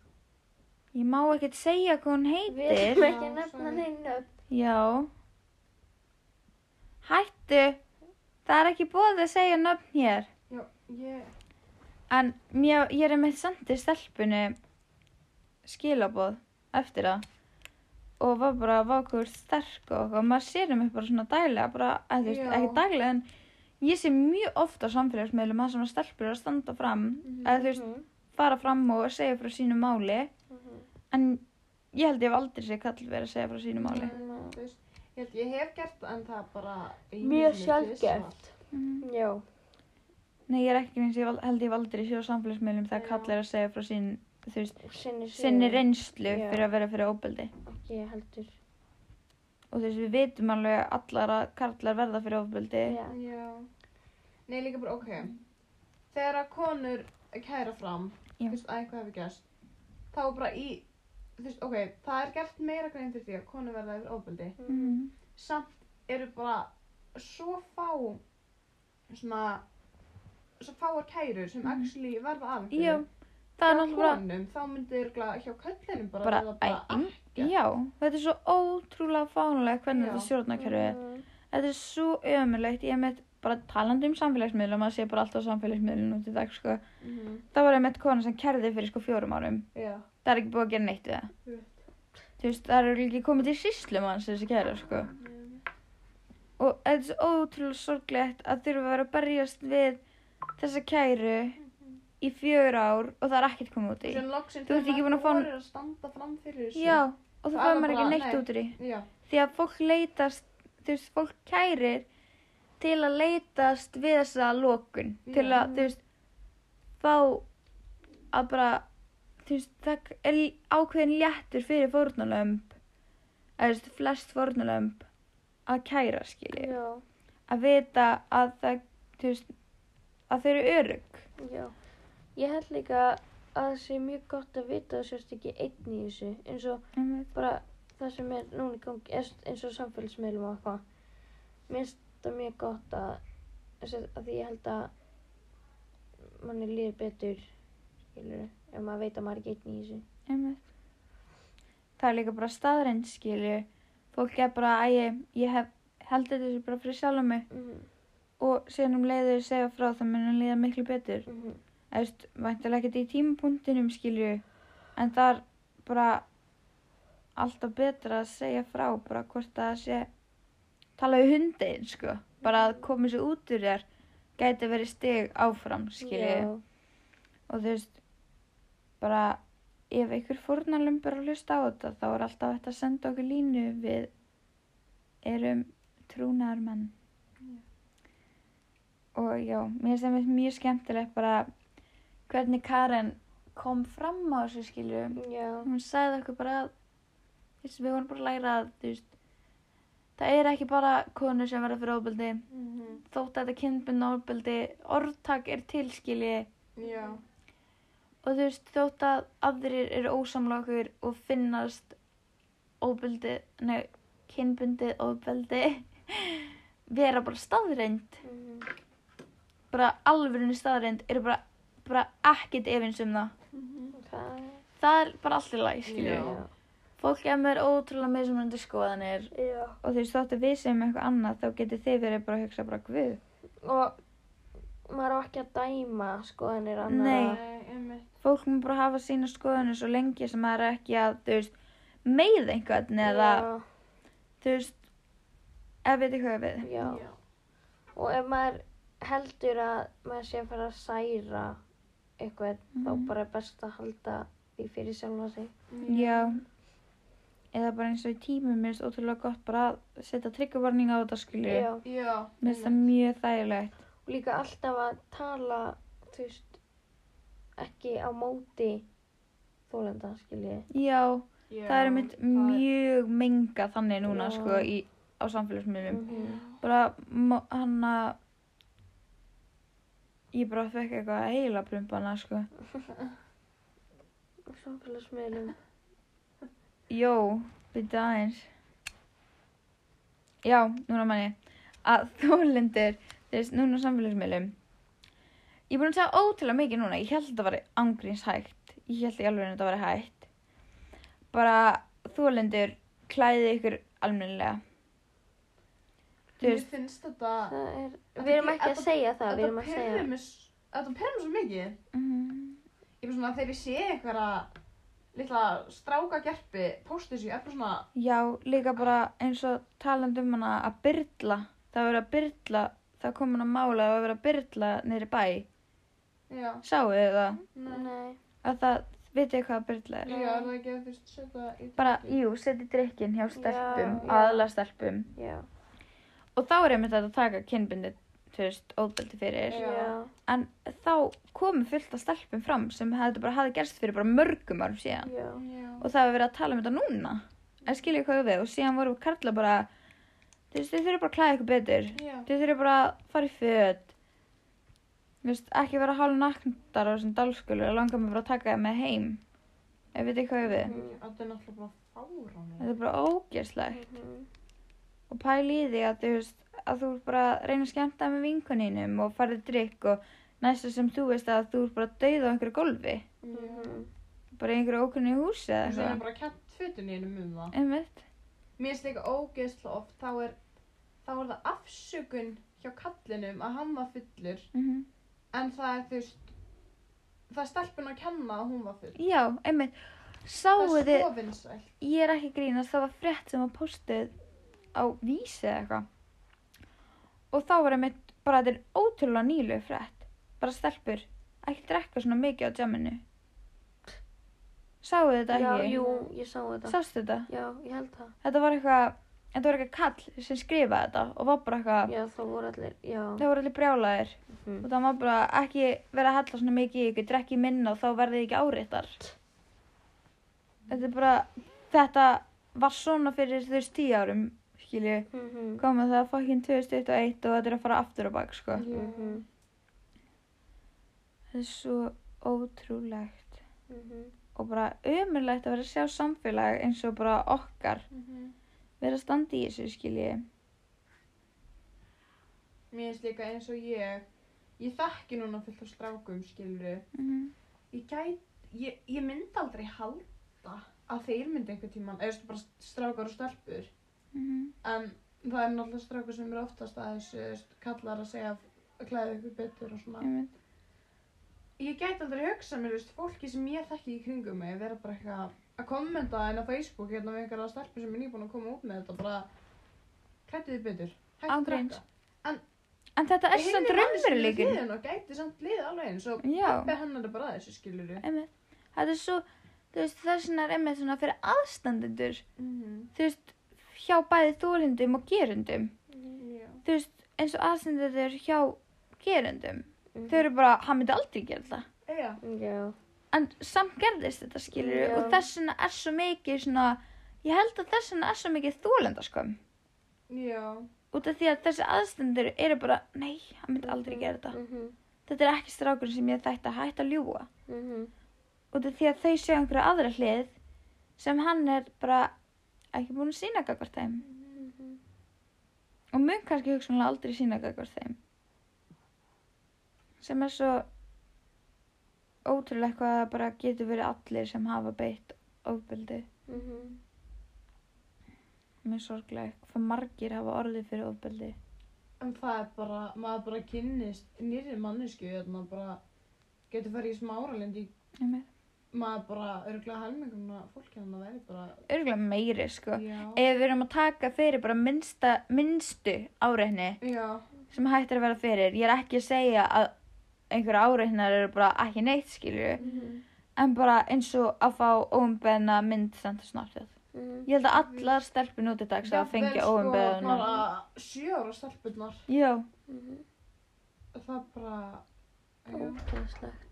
[SPEAKER 1] ég má ekkert segja hvað hún
[SPEAKER 2] Við erum
[SPEAKER 1] heitir
[SPEAKER 2] ekki
[SPEAKER 3] Já,
[SPEAKER 2] að nefna
[SPEAKER 3] sorry.
[SPEAKER 2] neina upp.
[SPEAKER 1] já hættu það er ekki búið að segja nöfn hér
[SPEAKER 3] Já, ég...
[SPEAKER 1] en mér, ég er með sendið stelpunu skilaboð eftir það og var bara vákur sterk og okkur, maður sér um bara svona daglega bara, að, þú veist,
[SPEAKER 3] Já.
[SPEAKER 1] ekki daglega en ég sé mjög ofta á samfélagsmiðlum að sem að stelpur eru að standa fram
[SPEAKER 3] Mhm.
[SPEAKER 1] eða þú veist, fara fram og segja frá sínu máli
[SPEAKER 2] Mhm.
[SPEAKER 1] en ég held ég hef aldrei sé kall verið að segja frá sínu máli
[SPEAKER 3] Nei, hérna, þú veist, Ég held ég hef gert það, en það er bara... einu
[SPEAKER 2] Mjög
[SPEAKER 3] sinni tvisvar.
[SPEAKER 2] sjálfgeft.
[SPEAKER 1] mm.
[SPEAKER 2] Já.
[SPEAKER 1] nei, ég er ekki eins, ég hef al- held ég hef aldrei sé á samfélagsmiðlum þegar
[SPEAKER 3] Já.
[SPEAKER 1] kall er að segja frá sín þú veist,
[SPEAKER 2] Sinni
[SPEAKER 1] sinni
[SPEAKER 2] sögu.
[SPEAKER 1] reynslu
[SPEAKER 2] Já.
[SPEAKER 1] fyrir að vera fyrir óbeldi
[SPEAKER 2] Ekki heldur.
[SPEAKER 1] og þess við vitum alveg að allar að karlar verða fyrir ofbeldi
[SPEAKER 2] Já.
[SPEAKER 3] Já. Nei, líka bara, ok. Þegar að konur kæra fram,
[SPEAKER 1] Já.
[SPEAKER 3] þú veist, að eitthvað hefur gerst, þá er bara í... Þú veist, ok, það er gert meira grein fyrir því að konur verða yfir ofbeldi.
[SPEAKER 2] Mhm.
[SPEAKER 1] mm.
[SPEAKER 3] samt eru bara svo fá svona svo fáar kærur sem
[SPEAKER 1] Mhm.
[SPEAKER 3] actually verða af
[SPEAKER 1] já,
[SPEAKER 3] einhverju.
[SPEAKER 1] það er
[SPEAKER 3] Hjá
[SPEAKER 1] náttúrulega
[SPEAKER 3] konum, þá myndi yrgla hjá köllinum bara,
[SPEAKER 1] bara,
[SPEAKER 3] verða
[SPEAKER 1] bara æ, já, þetta er svo ótrúlega fánulega hvernig
[SPEAKER 3] Já.
[SPEAKER 1] þetta stjórnakerfi er
[SPEAKER 2] Mhm.
[SPEAKER 1] þetta er svo ömulegt, ég meitt bara talandi um samfélagsmiðlum, maður sé bara alltaf samfélagsmiðlum út í dag, sko,
[SPEAKER 3] Mhm.
[SPEAKER 1] það var einmitt kona sem kerði fyrir sko fjórum árum,
[SPEAKER 3] já,
[SPEAKER 1] það er ekki búið að gera neitt við það
[SPEAKER 3] Rétt.
[SPEAKER 1] þú veist, það eru ekki komið til síslum hans þessi kæra, sko og þetta er svo ótrúlega sorglegt að þurfa að vera að berjast við þessa kæru
[SPEAKER 3] Mhm.
[SPEAKER 1] í fjör ár og það er ekkert komið út í
[SPEAKER 3] sem loksin
[SPEAKER 1] Þú ert ekki búin að fá-
[SPEAKER 3] að standa fram fyrir þessu
[SPEAKER 1] já, og það
[SPEAKER 3] Það
[SPEAKER 1] fær
[SPEAKER 3] var
[SPEAKER 1] maður ekki
[SPEAKER 3] bara-
[SPEAKER 1] neitt
[SPEAKER 3] nei.
[SPEAKER 1] út úr í
[SPEAKER 3] já,
[SPEAKER 1] því að fólk leitast þú veist, fólk kærir til að leitast við þessa lokun til
[SPEAKER 3] Já.
[SPEAKER 1] að, þú veist fá að bara þú veist, það er ákveðin léttur fyrir fórnulömb eða þú veist, flest fórnulömb að kæra, skilji
[SPEAKER 2] Já.
[SPEAKER 1] að vita að það þú veist, að þau eru örug
[SPEAKER 2] Já, ég held líka að það sé mjög gott að vita að þú sérst ekki einn í þessu eins og bara það sem er núna í gangi eins eins og samfélagsmiðlum og eitthvað mér finnst það mjög gott að, að sér- að því ég held að manni líður betur skilur ef maður veit að maður er ekki einn í þessu
[SPEAKER 1] Einmitt. það er líka bara staðreind skilju fólk er bara að ég, ég hef held þetta þessu bara fyrir sjálfum mig
[SPEAKER 2] mm
[SPEAKER 1] og síðan um leiðu segja frá það munum líða miklu betur
[SPEAKER 2] -hmm.
[SPEAKER 1] eða væntalega ekkert í tímapunktinum skilju en það er bara alltaf betra að segja frá bara hvort það sé tala við hundin sko bara að koma sér út úr þér gæti verið stig áfram skilju og þú veist bara ef einhver fórnalömbur að hlusta á þetta þá er alltaf þetta að senda okkur línu við erum trúnaðar menn og já, mér sem er mjög skemmtilegt bara hvernig Karen kom fram á þessu skilju
[SPEAKER 2] já,
[SPEAKER 1] hún sagði okkur bara að þú veist, við vorum bara að læra að þú veist það er ekki bara konur sem verða fyrir ofbeldi
[SPEAKER 3] Mhm.
[SPEAKER 1] þótt að þetta kynbunna ofbeldi orðtak er tilskilji
[SPEAKER 3] já,
[SPEAKER 1] og þú veist þótt að aðrir eru ósamla okkur og finnast óbeldi, nei, kynbundið óbeldi [laughs] vera bara staðreind
[SPEAKER 2] mm
[SPEAKER 1] bara alvörinu staðreind eru bara, bara ekkit efins um það
[SPEAKER 2] það er
[SPEAKER 1] það er bara allir læg, skilju
[SPEAKER 3] Já.
[SPEAKER 1] fólk er með ótrúlega mismunandi skoðanir
[SPEAKER 2] Já.
[SPEAKER 1] og þú veist þóttu við segjum eitthvað annað þá getur þið verið bara að hugsa bara guð
[SPEAKER 2] Og maður á ekki að dæma skoðanir
[SPEAKER 1] Nei.
[SPEAKER 2] annara.
[SPEAKER 3] Nei, Eh, einmitt.
[SPEAKER 1] fólk má bara hafa sína skoðanir svo lengi sem maður er ekki að þú veist meið einhvern eða þú veist ef við þið hvað við
[SPEAKER 2] Já. Já. Og ef maður heldur að maður sé að fara að særa eitthvað,
[SPEAKER 1] Mhm.
[SPEAKER 2] þá bara er best að halda því fyrir sjálfa sig.
[SPEAKER 1] já eða bara eins og í tímum mér finnst ótrúlega gott bara að setja tryggjavarning á þetta skilju
[SPEAKER 2] Já.
[SPEAKER 3] Já.
[SPEAKER 1] mér finnst það mjög þægilegt
[SPEAKER 2] Og líka alltaf að tala, þú veist, ekki á móti þólenda, skiljið.
[SPEAKER 1] já
[SPEAKER 3] Já,
[SPEAKER 1] það er mitt mjög menga þannig núna
[SPEAKER 2] Já.
[SPEAKER 1] sko í, á samfélagsmiðlum
[SPEAKER 2] Mhm.
[SPEAKER 1] bara mo- hann að ég bara fekk eitthvað heila prumpana sko
[SPEAKER 2] [laughs] Samfélagsmiðlum.
[SPEAKER 1] Jó, byrja aðeins. Já, núna man ég að [laughs] þólendur, þú veist, núna á samfélagsmiðlum. Ég er búin að segja ótrúlega mikið núna, ég held að það var angriðs hægt. Ég held í alveg að það var hægt. Bara þólendur klæði ykkur almennilega. Þú
[SPEAKER 3] Mér
[SPEAKER 1] veist,
[SPEAKER 3] finnst þetta...
[SPEAKER 2] Það er,
[SPEAKER 3] Þetta
[SPEAKER 2] við erum
[SPEAKER 3] ge-
[SPEAKER 2] ekki að
[SPEAKER 3] þetta-
[SPEAKER 2] segja það, við erum
[SPEAKER 3] Þetta
[SPEAKER 2] að segja.
[SPEAKER 3] perður mér s- þetta perður mér svo mikið.
[SPEAKER 1] mm,
[SPEAKER 3] Ég finnst svona að þegar ég sé einhverja litla stráka gerpi póstis ég er bara svona...
[SPEAKER 1] já, líka bara eins og talandi um hana að byrla. Það var verið að byrla, það kom hann að mála, það var verið að byrla niður í bæ.
[SPEAKER 3] Já.
[SPEAKER 1] Sáu þið það?
[SPEAKER 2] Nei.
[SPEAKER 1] að það, vitið hvað byrla er?
[SPEAKER 3] Já, er það ekki að þú veist setja í...
[SPEAKER 1] Bara, jú, setja drikkin hjá stelpum,
[SPEAKER 2] já.
[SPEAKER 1] aðla stelpum.
[SPEAKER 2] Já.
[SPEAKER 1] Og þá er einmitt hægt að taka kynbindi, þú veist, óbeldi fyrir.
[SPEAKER 3] Já.
[SPEAKER 2] Já.
[SPEAKER 1] En þá komu fullt af stelpum fram sem þetta bara hafði gerst fyrir bara mörgum árum síðan.
[SPEAKER 2] Já.
[SPEAKER 3] Já.
[SPEAKER 1] Og það hefur verið að tala um þetta núna. En skilja hvað við og síðan voru karla bara, þú veist, þið þurfum bara að klæða ykkur betur.
[SPEAKER 3] Já.
[SPEAKER 1] Þið þurfum bara að fara í föt. Þú veist, ekki vera hálf nakndar á þessum dalskulu og langar mig bara að taka það með heim. Ef við þið hvað við.
[SPEAKER 2] Mhm.
[SPEAKER 3] Þetta er náttúrulega bara fáránlega.
[SPEAKER 1] Þetta er bara ógeðslegt.
[SPEAKER 2] Mhm.
[SPEAKER 1] og pæli í því að þú veist að þú ert bara að reyna að skemmta með vinkoninum og farið drikk og næsta sem þú veist að þú ert bara að dauða á einhverju gólfi
[SPEAKER 2] Mhm.
[SPEAKER 1] bara í einhverju ókunni húsi eða
[SPEAKER 3] Það er
[SPEAKER 1] eitthvað
[SPEAKER 3] bara kent fötunni innum um það.
[SPEAKER 1] einmitt
[SPEAKER 3] Mér finnst líka ógeðsla oft, þá er, þá er það afsökun hjá kallinum að hann var fullur,
[SPEAKER 1] mm
[SPEAKER 3] en það er þú veist, það er stelpun að kenna að hún var full.
[SPEAKER 1] já, einmitt
[SPEAKER 3] Það
[SPEAKER 1] sáuði,
[SPEAKER 3] er svo vinsælt.
[SPEAKER 1] ég er ekki að grínast það var frétt sem var postið á vísi eða eitthvað og þá var einmitt bara þetta er ótrúlega nýlu frétt bara stelpur, ekki drekka svona mikið á djaminu sáuði þetta
[SPEAKER 2] Já,
[SPEAKER 1] ekki?
[SPEAKER 2] jú, ég sá þetta.
[SPEAKER 1] sástu þetta?
[SPEAKER 2] Já, ég held það.
[SPEAKER 1] þetta var eitthvað þetta var eitthvað kall sem skrifaði þetta og var bara eitthvað,
[SPEAKER 2] Já, þá voru allir, já.
[SPEAKER 1] það voru allir brjálæðir
[SPEAKER 2] Mhm.
[SPEAKER 1] og það var bara ekki vera að hella svona mikið í ykkur, drekki minna og þá verðið þið ekki áreittar þetta er bara þetta var svona fyrir þú veist tíu árum skilju,
[SPEAKER 2] Mhm.
[SPEAKER 1] komið það fokkin 2001 og þetta er að fara aftur á bak sko.
[SPEAKER 2] Mhm.
[SPEAKER 1] þetta er svo ótrúlegt
[SPEAKER 2] Mhm.
[SPEAKER 1] og bara ömurlegt að vera að sjá samfélag eins og bara okkar
[SPEAKER 3] Mhm.
[SPEAKER 1] vera að standa í þessu skilju
[SPEAKER 3] Mér finnst líka eins og ég, ég þekki núna fullt af strákum, skiluru.
[SPEAKER 1] mm.
[SPEAKER 3] Ég gæt, ég, ég myndi aldrei halda að þeir myndi einhver tíman, eða þú veist, bara strákar og stelpur.
[SPEAKER 1] Mm.
[SPEAKER 3] En það er náttúrulega strákur sem eru oftast að þessu, þú veist, kallar að segja að klæða ykkur betur og svona.
[SPEAKER 1] Mm.
[SPEAKER 3] Ég gæti aldrei hugsað mér, þú veist, fólki sem ég þekki í kringum mig vera bara eitthvað að kommenta en á Facebook hérna við einhverja stelpur sem er nýbúin að koma út með þetta bara klættu þið betur, hættu að
[SPEAKER 1] Ángreins.
[SPEAKER 3] drekka.
[SPEAKER 1] En þetta er samt
[SPEAKER 3] Ég
[SPEAKER 1] raunveruleikin.
[SPEAKER 3] hefði og gæti samt liðið alveg eins og
[SPEAKER 1] Já.
[SPEAKER 3] pappi hennar er bara að þessu, skilur við.
[SPEAKER 1] Einmitt. Þetta er svo, þú veist, þess vegna er einmitt svona fyrir aðstandendur, þú veist, hjá bæði þólindum og gerundum.
[SPEAKER 3] Já.
[SPEAKER 1] Þú veist, eins og aðstandendur hjá gerundum.
[SPEAKER 2] Mhm.
[SPEAKER 1] Þau eru bara, hann myndi aldrei gera það.
[SPEAKER 3] Já.
[SPEAKER 2] Já.
[SPEAKER 1] En samt gerðist þetta, skilur
[SPEAKER 2] Já.
[SPEAKER 1] og þess vegna er svo mikið svona, ég held að þess vegna er svo mikið þólendaskömm.
[SPEAKER 3] Já.
[SPEAKER 1] Út af því að þessi aðstandendur eru bara, nei, hann myndi aldrei gera þetta.
[SPEAKER 2] Mhm.
[SPEAKER 1] Þetta er ekki strákurinn sem ég þætti að hætta að ljúga.
[SPEAKER 2] Mhm.
[SPEAKER 1] út af því að þau séu einhverja aðra hlið sem hann er bara ekki búin að sína gagvart þeim
[SPEAKER 2] Mhm.
[SPEAKER 1] og mun kannski hugsanlega aldrei sína gagvart þeim sem er svo ótrúlega hvað það bara getur verið allir sem hafa beitt ofbeldi
[SPEAKER 2] Mhm.
[SPEAKER 1] mjög sorgleg hvað margir hafa orðið fyrir ofbeldi
[SPEAKER 3] En það er bara, maður bara kynnist nýri mannesku hérna bara getur farið í smáralind í maður bara örgulega helminguna fólki hann að veri bara Eh,
[SPEAKER 1] örgulega meiri sko
[SPEAKER 3] já,
[SPEAKER 1] ef við erum að taka fyrir bara minnsta, minnstu áreitni
[SPEAKER 3] já,
[SPEAKER 1] sem hægt er að vera fyrir ég er ekki að segja að einhverja áreitnar eru bara ekki neitt skilju
[SPEAKER 2] Mm-hmm.
[SPEAKER 1] en bara eins og að fá óumbeðna mynd samt og snortið
[SPEAKER 2] Mhm.
[SPEAKER 1] ég held að allar stelpur nú til dags að
[SPEAKER 3] Jafnvel,
[SPEAKER 1] fengja
[SPEAKER 3] sko,
[SPEAKER 1] óumbeðna
[SPEAKER 3] bara sjö ára stelpunnar
[SPEAKER 1] já,
[SPEAKER 2] Mhm.
[SPEAKER 3] það bara já,
[SPEAKER 2] Mm-hmm. Ógeðslegt.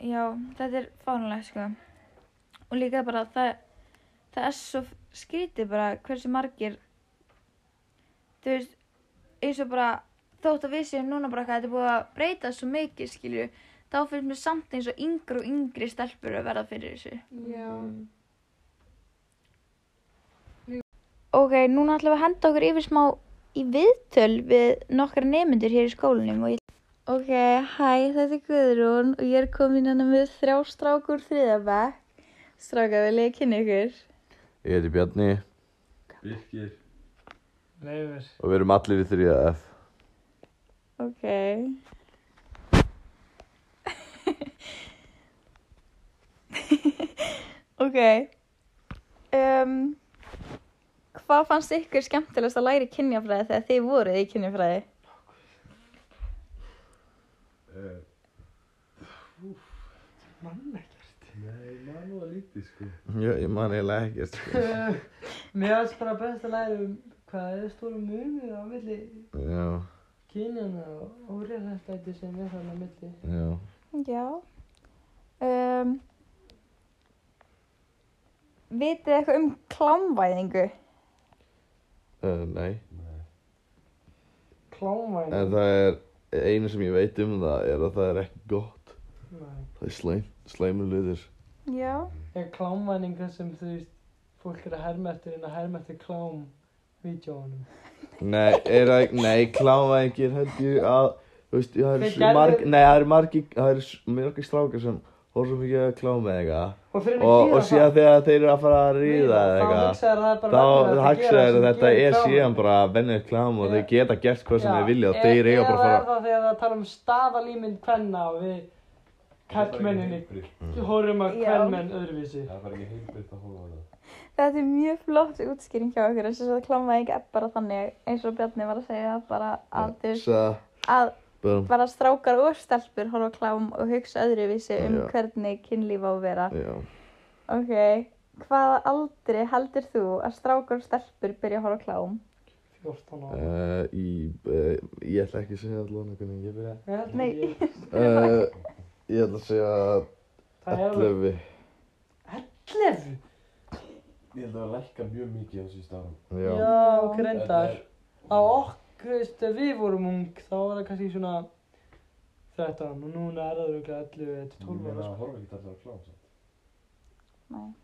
[SPEAKER 1] já, þetta er fánulega sko og líka bara það það er svo skrítið bara hversu margir þú veist eins og bara þótt að við séum núna bara hvað þetta er búið að breyta svo mikið skilju þá finnst mér samt eins og yngri og yngri stelpur að verða fyrir þessu
[SPEAKER 3] já,
[SPEAKER 2] Mhm.
[SPEAKER 1] Ok, núna ætlum við að henda okkur yfir smá í viðtöl við nokkra nemyndur hér í skólanum og ég... Ok, hæ, þetta er Guðrún og ég er komin hérna með þrjá strákur þriðabæk. Strákar, vil ég kynna ykkur?
[SPEAKER 4] Ég heiti Bjarni
[SPEAKER 5] Birkir
[SPEAKER 6] Leifur,
[SPEAKER 4] og við erum allir í 3F.
[SPEAKER 1] Ok. [laughs] ok. Um, hvað fannst ykkur skemmtilegast að læra kynjafræði þegar þið voruð í kynjafræði?
[SPEAKER 5] uh,
[SPEAKER 6] mann ekkert.
[SPEAKER 5] Nei, maður nú að lítið sko
[SPEAKER 4] Jó, ég man eiginlega ekkert.
[SPEAKER 6] [laughs]
[SPEAKER 4] sko.
[SPEAKER 6] Mér varst bara best að læra um hvað er stóru munur á milli
[SPEAKER 4] Já,
[SPEAKER 6] kynjana og óriðrættæti sem er þarna á milli.
[SPEAKER 4] já.
[SPEAKER 1] Já. Um, vitið þið eitthvað um klámvæðingu?
[SPEAKER 4] Uh, nei. En
[SPEAKER 6] Klámvæn.
[SPEAKER 4] það er, einu sem ég veit um það er að það er ekki gott.
[SPEAKER 6] Nei.
[SPEAKER 4] Það er slæm, slæmur liður.
[SPEAKER 1] Já.
[SPEAKER 6] Ég klámvæninga sem þú veist, fólk er að herma eftir en að herma eftir klám vídjónum.
[SPEAKER 4] Nei, er það ekki, nei, klámaðingir held ég að, þú veist, það eru
[SPEAKER 6] Þeir
[SPEAKER 4] svo marg,
[SPEAKER 6] gerðu-
[SPEAKER 4] nei, það eru margi, það eru s- margir strákar sem horfum ekki að kláma eitthvað.
[SPEAKER 6] Og fyrir
[SPEAKER 4] Og, og síðan þegar þeir eru að fara að ríða eða
[SPEAKER 6] Þá
[SPEAKER 4] eitthvað.
[SPEAKER 6] hugsaður það er bara
[SPEAKER 4] þá
[SPEAKER 6] venjulegt að gera
[SPEAKER 4] hagsaður
[SPEAKER 6] sem
[SPEAKER 4] þetta
[SPEAKER 6] gerir
[SPEAKER 4] er
[SPEAKER 6] kláminu.
[SPEAKER 4] síðan bara vennið klám og
[SPEAKER 6] Já.
[SPEAKER 4] þeir geta gert hvað sem
[SPEAKER 6] Já,
[SPEAKER 4] þeir vilja og
[SPEAKER 6] e-
[SPEAKER 4] þeir eiga bara að
[SPEAKER 6] Eða er
[SPEAKER 4] fara
[SPEAKER 6] það þegar það tala um staðalímynd kvenna og við kallmenninni horfum að
[SPEAKER 1] Já.
[SPEAKER 6] kvennmenn öðruvísi.
[SPEAKER 5] Það var ekki heilbriðt að hóla á það
[SPEAKER 1] Þetta er mjög flott útskýring hjá okkur. Þess að klámvæðing er bara þannig, eins og Bjarni var að segja, bara að, þú veist,
[SPEAKER 4] Sa,
[SPEAKER 1] að
[SPEAKER 4] bum,
[SPEAKER 1] bara strákar og stelpur horfa á klám og hugsa öðruvísi um
[SPEAKER 4] Já.
[SPEAKER 1] hvernig kynlíf á að vera.
[SPEAKER 4] já.
[SPEAKER 1] Ok, hvaða aldri heldur þú að strákar og stelpur byrja að horfa á klám?
[SPEAKER 6] 14 ára.
[SPEAKER 4] Uh, í, uh, ég ætla ekki að segja allan einhvern veginn, ég
[SPEAKER 6] [laughs]
[SPEAKER 4] byrja.
[SPEAKER 6] Ég held
[SPEAKER 1] Nei.
[SPEAKER 6] ekki.
[SPEAKER 4] Uh, ég ætla að segja
[SPEAKER 6] Það er alveg
[SPEAKER 4] 11.
[SPEAKER 6] 11.
[SPEAKER 5] Ég held að það lækka mjög mikið á síðust árum
[SPEAKER 4] Já.
[SPEAKER 6] Já, ok, reyndar. eh, Á okkur, veist, þegar við vorum ung, þá var það kannski svona 13 og núna er það röglega 11 eða 12 ára. sko.
[SPEAKER 5] Það horfa ekki allir að klám samt
[SPEAKER 1] Nei.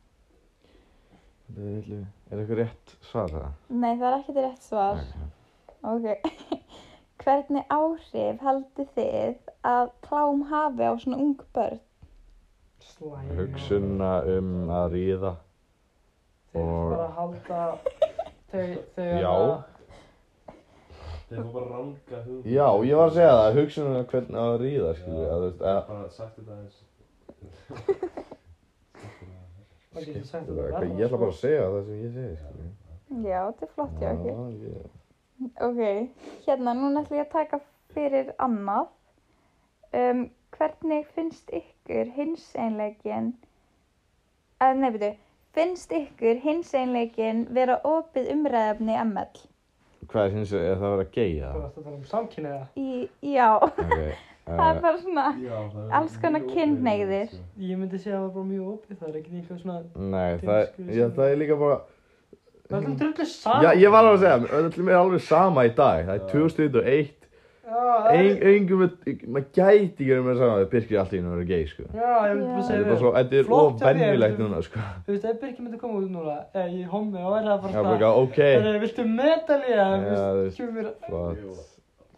[SPEAKER 4] Þetta er 11. Er eitthvað rétt svar það?
[SPEAKER 1] Nei, það er ekkert rétt svar. Ok. [laughs] Hvernig áhrif haldið þið að klám hafi á svona ung börn?
[SPEAKER 6] Slæm.
[SPEAKER 4] Hugsunna um að ríða.
[SPEAKER 6] Þeir
[SPEAKER 4] og-
[SPEAKER 6] bara halda, þegar, þegar
[SPEAKER 4] Já.
[SPEAKER 6] að-
[SPEAKER 5] Þeir fór bara að ranga hug
[SPEAKER 4] Já, ég var að segja það, hugsunna um hvernig á að ríða, skilju,
[SPEAKER 5] Já.
[SPEAKER 4] að þú veist,
[SPEAKER 5] Ég
[SPEAKER 4] að,
[SPEAKER 5] hef bara sagt þetta aðeins
[SPEAKER 6] það getur sagt að
[SPEAKER 4] Skilurðu, hvað-
[SPEAKER 6] það verða,
[SPEAKER 4] ég ætla
[SPEAKER 6] sko.
[SPEAKER 4] bara að segja það sem ég segi, skilju.
[SPEAKER 1] Já, þetta er flott hjá okkur.
[SPEAKER 4] Já, ég,
[SPEAKER 1] Ok, hérna, núna ætlum ég að taka fyrir annað. Um, hvernig finnst ykkur hins einleikin, að nefndu, finnst ykkur hins einleikin vera opið umræðafni ML?
[SPEAKER 4] hvað er hins vegar, er það að vera gay, eða?
[SPEAKER 6] Þú varst að tala um samkynniða.
[SPEAKER 1] Í, já, [laughs]
[SPEAKER 4] Ok,
[SPEAKER 1] það er
[SPEAKER 4] uh,
[SPEAKER 1] bara svona,
[SPEAKER 5] Já, það er
[SPEAKER 1] Alls konar
[SPEAKER 5] mjög opið
[SPEAKER 1] kynhneigðir.
[SPEAKER 5] sko.
[SPEAKER 6] Ég myndi segja að það var bara mjög opið, það er ekkert eitthvað svona,
[SPEAKER 4] nei,
[SPEAKER 6] Til
[SPEAKER 4] það,
[SPEAKER 6] skilur
[SPEAKER 4] já,
[SPEAKER 6] sem- Ah.
[SPEAKER 4] það er líka bara,
[SPEAKER 6] það er alltaf drullu saman.
[SPEAKER 4] Mm. já, ég var alveg að segja, öllum er alveg sama í dag, það er
[SPEAKER 5] Já.
[SPEAKER 4] 2001,
[SPEAKER 6] Já, það er,
[SPEAKER 4] ein, engum, er- maður gæti ekki að vera saman, það byrkir allt í hennu að vera gay, sko.
[SPEAKER 6] já, ég myndi bara
[SPEAKER 4] Þetta
[SPEAKER 6] segja
[SPEAKER 4] er bara
[SPEAKER 6] við,
[SPEAKER 4] svo, þetta er
[SPEAKER 6] Flott
[SPEAKER 4] of
[SPEAKER 6] hjá þér,
[SPEAKER 4] venjulegt
[SPEAKER 6] þú-
[SPEAKER 4] núna, sko.
[SPEAKER 6] þú veist, ef Birki myndi koma út núna, eh, eða ég er homi og er það
[SPEAKER 4] Já,
[SPEAKER 6] bara
[SPEAKER 4] bara,
[SPEAKER 6] það,
[SPEAKER 4] eitthvað, ok,
[SPEAKER 6] það er, viltu medalja,
[SPEAKER 4] Já,
[SPEAKER 6] þú
[SPEAKER 4] þú
[SPEAKER 6] veist,
[SPEAKER 4] veist.
[SPEAKER 6] kemur mér,
[SPEAKER 4] flott.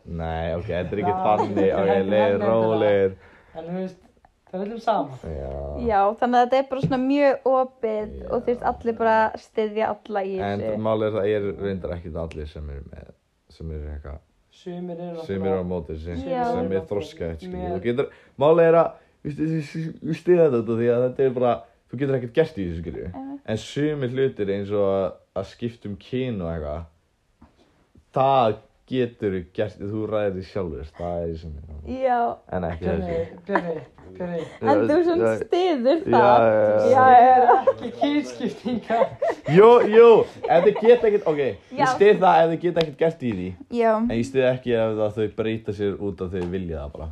[SPEAKER 4] Nei, ok, þetta er ekki
[SPEAKER 6] Já.
[SPEAKER 4] þannig, ok,
[SPEAKER 6] Þetta er
[SPEAKER 4] leiðir
[SPEAKER 6] heldur
[SPEAKER 4] rólegir.
[SPEAKER 6] en þú veist, Það er öllum sama.
[SPEAKER 4] Já.
[SPEAKER 1] Já, þannig að þetta er bara svona mjög opið
[SPEAKER 4] Já.
[SPEAKER 1] og þú veist allir bara styðja alla í
[SPEAKER 4] En
[SPEAKER 1] þessu.
[SPEAKER 4] málið er það ég er reyndar ekkert allir sem eru með sem eru eitthvað,
[SPEAKER 6] Sumir eru
[SPEAKER 4] sem eru á móti sem,
[SPEAKER 1] Já.
[SPEAKER 4] sem er þroskað
[SPEAKER 6] Mér-
[SPEAKER 4] þú getur, málið er að þú- þú- þú stiða þetta út af því að þetta er bara þú getur ekkert gert í þessu skilju
[SPEAKER 1] Einmitt.
[SPEAKER 4] en sumir hlutir eins og að, að skipta um kyn og eitthvað það getur gert, þú ræðir því sjálfur það er því sem er
[SPEAKER 1] Já,
[SPEAKER 4] en ekki
[SPEAKER 6] Björni, Björni, Björni.
[SPEAKER 1] en þú svona
[SPEAKER 4] Já,
[SPEAKER 1] styður
[SPEAKER 4] já,
[SPEAKER 1] það.
[SPEAKER 4] já, já.
[SPEAKER 1] Já, já, já.
[SPEAKER 6] Ekki kýrskiptinga.
[SPEAKER 4] Jú, jú, ef þið geta ekkert, ok,
[SPEAKER 1] Já.
[SPEAKER 4] ég stið það ef þið geta ekkert gert í því
[SPEAKER 1] Já,
[SPEAKER 4] En ég stið ekki ef það þau breyta sér út af þau vilja það bara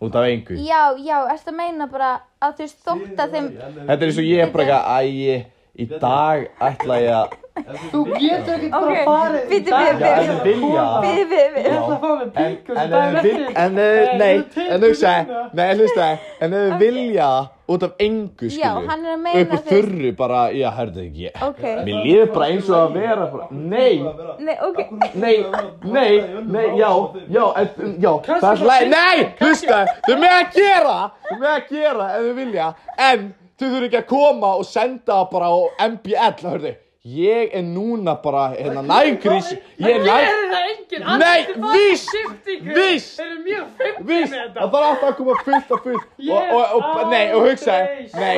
[SPEAKER 4] Út af engu
[SPEAKER 1] já, já, ertu að meina bara að þú veist þótt að þeim...
[SPEAKER 4] Þetta er eins og ég er bara eitthvað að ég Í dag ætla ég að
[SPEAKER 6] Þú getur ekkert
[SPEAKER 1] Ok,
[SPEAKER 6] bara farið. í
[SPEAKER 1] bíddu, bíddu,
[SPEAKER 4] Já, en
[SPEAKER 6] dag.
[SPEAKER 4] þau vilja það
[SPEAKER 1] Við, við, við.
[SPEAKER 6] Ég ætla að fá mér
[SPEAKER 4] En,
[SPEAKER 6] pingu
[SPEAKER 4] en, en, vil, en, eh, nei, en hugsa, nei, hlusta, en ef þau vilja það út af engu,
[SPEAKER 1] Já,
[SPEAKER 4] skilju,
[SPEAKER 1] hann er að
[SPEAKER 4] upp
[SPEAKER 1] meina
[SPEAKER 4] úr þurru bara, já, hörðu ekki, ég,
[SPEAKER 1] Ok,
[SPEAKER 4] mér líður bara eins og að vera, bara- nei,
[SPEAKER 1] nei, ok,
[SPEAKER 4] Nei, nei, nei, já, já, en, um, já, það
[SPEAKER 6] Kastaðu
[SPEAKER 4] er
[SPEAKER 6] bara
[SPEAKER 4] slæði, nei, hlusta, þau með að gera, þau með að gera ef þau vilja, en þau þurfum ekki að koma og senda bara á MBL, hörðu, ég er núna bara, hérna, nægrís, ég er nægrís,
[SPEAKER 6] Gerir það enginn?
[SPEAKER 4] Nei, víst,
[SPEAKER 6] Kýrskiptingu.
[SPEAKER 4] víst.
[SPEAKER 6] Þeir eru mjög fyrir
[SPEAKER 4] viss,
[SPEAKER 6] með
[SPEAKER 4] það
[SPEAKER 6] þetta.
[SPEAKER 4] þarf alltaf að koma fullt og fullt og, og, og, og nei, og hugsa, nei,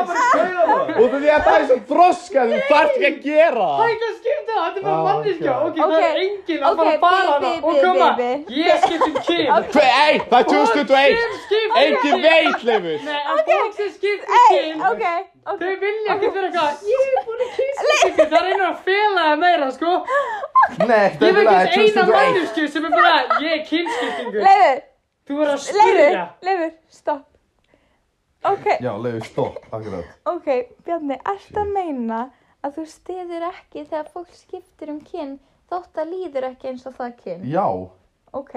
[SPEAKER 4] og því að það er svo þroska, þú þarf ekki að gera
[SPEAKER 6] Það er
[SPEAKER 4] það.
[SPEAKER 6] ekki að skipta það, þetta er bara
[SPEAKER 4] Ah,
[SPEAKER 6] manneskja,
[SPEAKER 4] ok.
[SPEAKER 6] ok, það
[SPEAKER 1] Ok,
[SPEAKER 6] er enginn að
[SPEAKER 1] ok,
[SPEAKER 6] fara að fara
[SPEAKER 1] bi-
[SPEAKER 6] hana
[SPEAKER 1] bi-
[SPEAKER 6] og
[SPEAKER 1] bi-
[SPEAKER 6] koma,
[SPEAKER 1] bi-
[SPEAKER 6] ég skiptum kyn.
[SPEAKER 4] Hver, ei, það er 2021, engin veit, Leifur.
[SPEAKER 6] Nei, að fólk sem skiptum
[SPEAKER 1] ei,
[SPEAKER 6] kyn,
[SPEAKER 1] ok, ok,
[SPEAKER 6] þau vilja ekki vera eitthvað, ég er búin að kýsa ykkur, það reynir að fela það meira, sko.
[SPEAKER 4] Nei,
[SPEAKER 6] Ég
[SPEAKER 4] þetta
[SPEAKER 6] veit
[SPEAKER 4] er
[SPEAKER 6] ekki eina
[SPEAKER 4] 2021.
[SPEAKER 6] manneskju sem er bara, ég er kynskiptingu,
[SPEAKER 1] leifur,
[SPEAKER 6] þú verður að
[SPEAKER 1] leifur,
[SPEAKER 6] spyrja.
[SPEAKER 1] leifur, stopp. Ok,
[SPEAKER 4] Já, Leifur, stopp, akkurat.
[SPEAKER 1] Ok, Bjarni, ert að meina að þú stiður ekki þegar fólk skiptir um kyn þótt að líður ekki eins og það kyn?
[SPEAKER 4] Já.
[SPEAKER 1] Ok,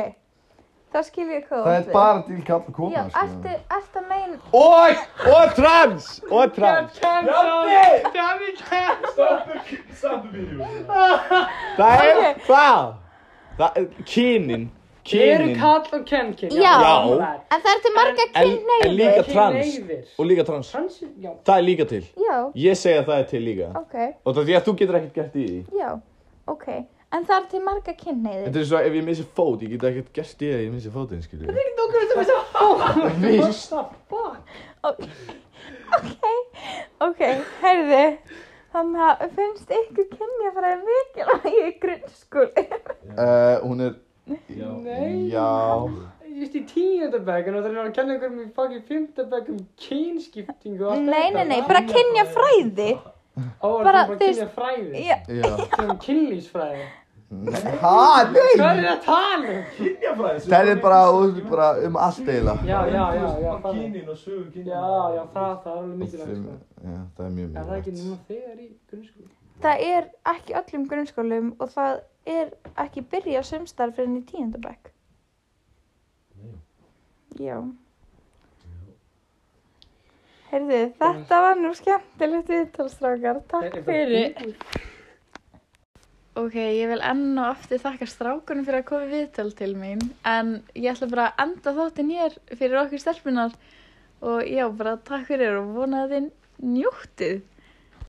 [SPEAKER 1] það skil ég hvað
[SPEAKER 4] Það
[SPEAKER 1] átt
[SPEAKER 4] er
[SPEAKER 1] við.
[SPEAKER 4] bara sko. til kall og
[SPEAKER 1] Já,
[SPEAKER 4] kona,
[SPEAKER 1] ertu, ert að meina...
[SPEAKER 4] Og, og trans, og trans.
[SPEAKER 6] Kjæmst, það er kjæmst.
[SPEAKER 4] Það er
[SPEAKER 1] Ok.
[SPEAKER 4] hvað? Það er kynin,
[SPEAKER 6] Þið eru
[SPEAKER 4] kynin,
[SPEAKER 6] kall og kennkyn,
[SPEAKER 1] Já.
[SPEAKER 6] sammála þér.
[SPEAKER 1] En það eru til marga
[SPEAKER 4] en,
[SPEAKER 1] kyn neyður.
[SPEAKER 4] en líka trans.
[SPEAKER 6] Kynhneigðir.
[SPEAKER 4] Og líka trans.
[SPEAKER 6] Trans, já.
[SPEAKER 4] Það er líka til.
[SPEAKER 1] Já,
[SPEAKER 4] Ég segi að það er til líka.
[SPEAKER 1] ok,
[SPEAKER 4] Og það er því að þú getur ekkert gert í því.
[SPEAKER 1] já, ok. En það eru til marga kyn
[SPEAKER 4] Þetta
[SPEAKER 1] neyður.
[SPEAKER 4] er svo að ef ég missi fót, ég get ekkert gert í því að ég missi fótinn, skilju.
[SPEAKER 6] Okkur
[SPEAKER 4] um
[SPEAKER 6] sem er svo hálf.
[SPEAKER 4] Víst.
[SPEAKER 1] Ok, ok, heyrðu. Þannig að finnst ykkur kynja að fara mikilvæg í grunnskóli?
[SPEAKER 4] Uh, hún er,
[SPEAKER 6] Nei.
[SPEAKER 4] já.
[SPEAKER 6] Just í tíundabæk, en það er að kenna ykkur um fucking fimmtabæk um kynskiptingu og allt
[SPEAKER 1] Nei, nei, nei, bara kynja fræði.
[SPEAKER 6] Ó, það
[SPEAKER 1] bara,
[SPEAKER 6] er bara
[SPEAKER 1] þú
[SPEAKER 6] kynja fræði.
[SPEAKER 1] Já,
[SPEAKER 4] Já.
[SPEAKER 6] Það er um kynlýsfræði.
[SPEAKER 4] Ha, nei.
[SPEAKER 6] Hvað er það að tala um?
[SPEAKER 4] Það er bara, bara um allt eiginlega.
[SPEAKER 6] Já, já, já, já, bara.
[SPEAKER 5] Kynin og sögur kynin
[SPEAKER 6] Já, já, það, það er alveg mikilvægt,
[SPEAKER 4] Fimm-
[SPEAKER 6] sko.
[SPEAKER 4] Já, það er mjög
[SPEAKER 6] Er það ekki
[SPEAKER 4] mikilvægt.
[SPEAKER 6] núna þegar í grunnskóla?
[SPEAKER 1] það er ekki í öllum grunnskólum og það er ekki byrja sumstarf fyrir enn í tíundabæk. Já. Heyrðu, þetta var nú skemmtilegt viðtalstrákar. Takk fyrir. Ok, ég vil enn og aftur þakka strákunum fyrir að koma í viðtal til mín en ég ætla bara að enda þáttinn hér fyrir okkur stelpunar og já, bara takk fyrir og vona að þið njóttið.